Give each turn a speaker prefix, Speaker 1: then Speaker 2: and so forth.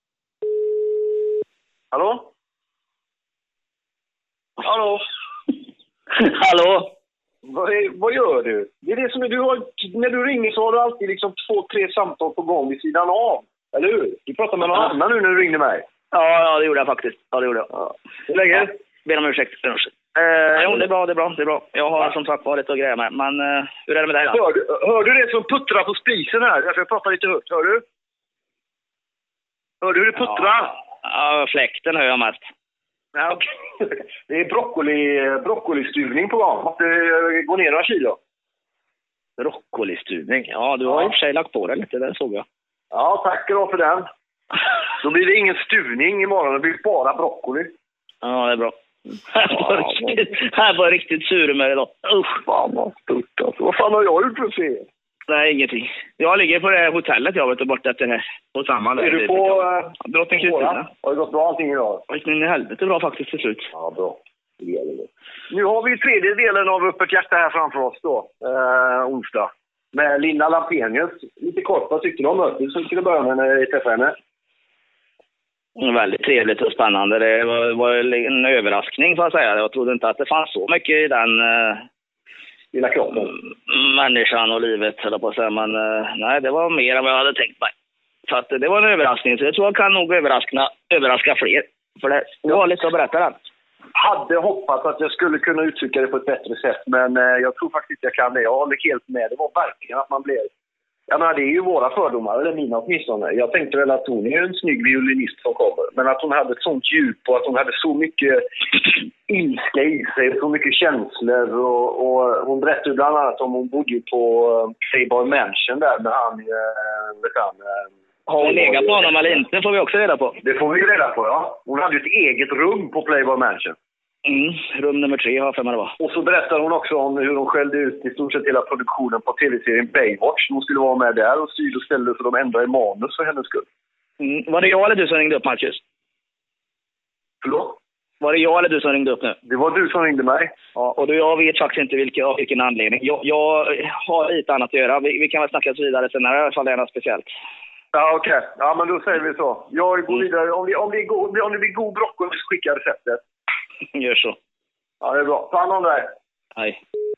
Speaker 1: Hallå?
Speaker 2: Vad, är, vad gör du? Det är det som är, du har, när du ringer så har du alltid liksom två, tre samtal på gång vid sidan av. Eller hur? Du pratar med någon
Speaker 1: Ja.
Speaker 2: annan nu när du ringde mig.
Speaker 1: Ja, ja, det gjorde jag faktiskt. Ja, det gjorde jag. Ja.
Speaker 2: Hur läget?
Speaker 1: Ja. Ber om ursäkt. Ber om ursäkt. Eh, jo, det är bra, det är bra, det är bra. Jag har som sagt varit och grejer med, men eh, hur är det med dig då?
Speaker 2: Hör, du- hör du det som puttrar på spisen här? Jag ska prata lite högt. Hör du? Hör du hur det puttrar?
Speaker 1: Ja, fläkten hör jag mest.
Speaker 2: Ja. okej. Det är broccoli, broccolistuvning på gång. Måste eh, gå ner några kilo.
Speaker 1: Broccolistuvning. Ja, du har i och för sig lagt på dig lite, det såg jag.
Speaker 2: Ja, tack då för den. Då blir det ingen stuvning imorgon. Det blir bara broccoli.
Speaker 1: Ja, det är bra. Jag var riktigt, jag var riktigt sur med det då. Oh, Usch.
Speaker 2: Fan vad stort alltså. Vad fan har jag gjort för fel?
Speaker 1: Nej, ingenting. Jag ligger på det här hotellet jag vet du, bort efter det här. På samma där.
Speaker 2: Är du på eh,
Speaker 1: Drottning Kristina?
Speaker 2: våra? Har det gått bra allting idag?
Speaker 1: Det gick in i helvete bra faktiskt till slut.
Speaker 2: Ja, bra. Det gäller det. Nu har vi tredje delen av Öppet hjärta här framför oss då, eh, onsdag. Med Linda Lampenius. Lite kort, vad tyckte du om mötet som skulle börja med när jag träffade henne?
Speaker 1: Mm, Väldigt trevligt och spännande. Det var, var en överraskning får jag säga. Jag trodde inte att det fanns så mycket i den eh,
Speaker 2: Lilla kroppen.
Speaker 1: människan och livet, höll jag på att säga. Men eh, nej, det var mer än vad jag hade tänkt mig. Så att, eh, det var en överraskning. Så jag tror jag kan nog överraska, överraska fler. För det, det var lite att berätta den.
Speaker 2: Hade hoppats att jag skulle kunna uttrycka det på ett bättre sätt, men eh, jag tror faktiskt inte jag kan det. Jag håller helt med. Det var verkligen att man blev... Jag menar, det är ju våra fördomar, eller mina åtminstone. Jag tänkte väl att hon är en snygg violinist som kommer, men att hon hade ett sånt djup och att hon hade så mycket ilska i sig, och så mycket känslor. Och, och hon berättade ju bland annat om hon bodde ju på eh, Playboy Mansion där med han... Eh, vet han eh,
Speaker 1: Har hon legat på honom eller inte får vi också reda på.
Speaker 2: Det får vi ju reda på, ja. Hon hade ju ett eget rum på Playboy Mansion.
Speaker 1: Mm, rum nummer tre har jag för mig det var.
Speaker 2: Och så berättar hon också om hur hon skällde ut i stort sett hela produktionen på tv-serien Baywatch. Hon skulle vara med där och styrde och ställde så de ändrade manus för hennes skull.
Speaker 1: Mm, var det jag eller du som ringde upp Marcus?
Speaker 2: Förlåt?
Speaker 1: Var det jag eller du som ringde upp nu?
Speaker 2: Det var du som ringde mig.
Speaker 1: Ja, och då jag vet faktiskt inte vilken, av vilken anledning. Jag, jag har lite annat att göra. Vi, vi kan väl snacka vidare senare ifall det är något speciellt.
Speaker 2: Ja, okej. Ja, men då säger vi så. Jag går vidare. Om det, om det, är god- om det blir god broccoli så skickar jag receptet.
Speaker 1: Gör så.
Speaker 2: Ja, det är bra. Ta hand om dig.
Speaker 1: Hej.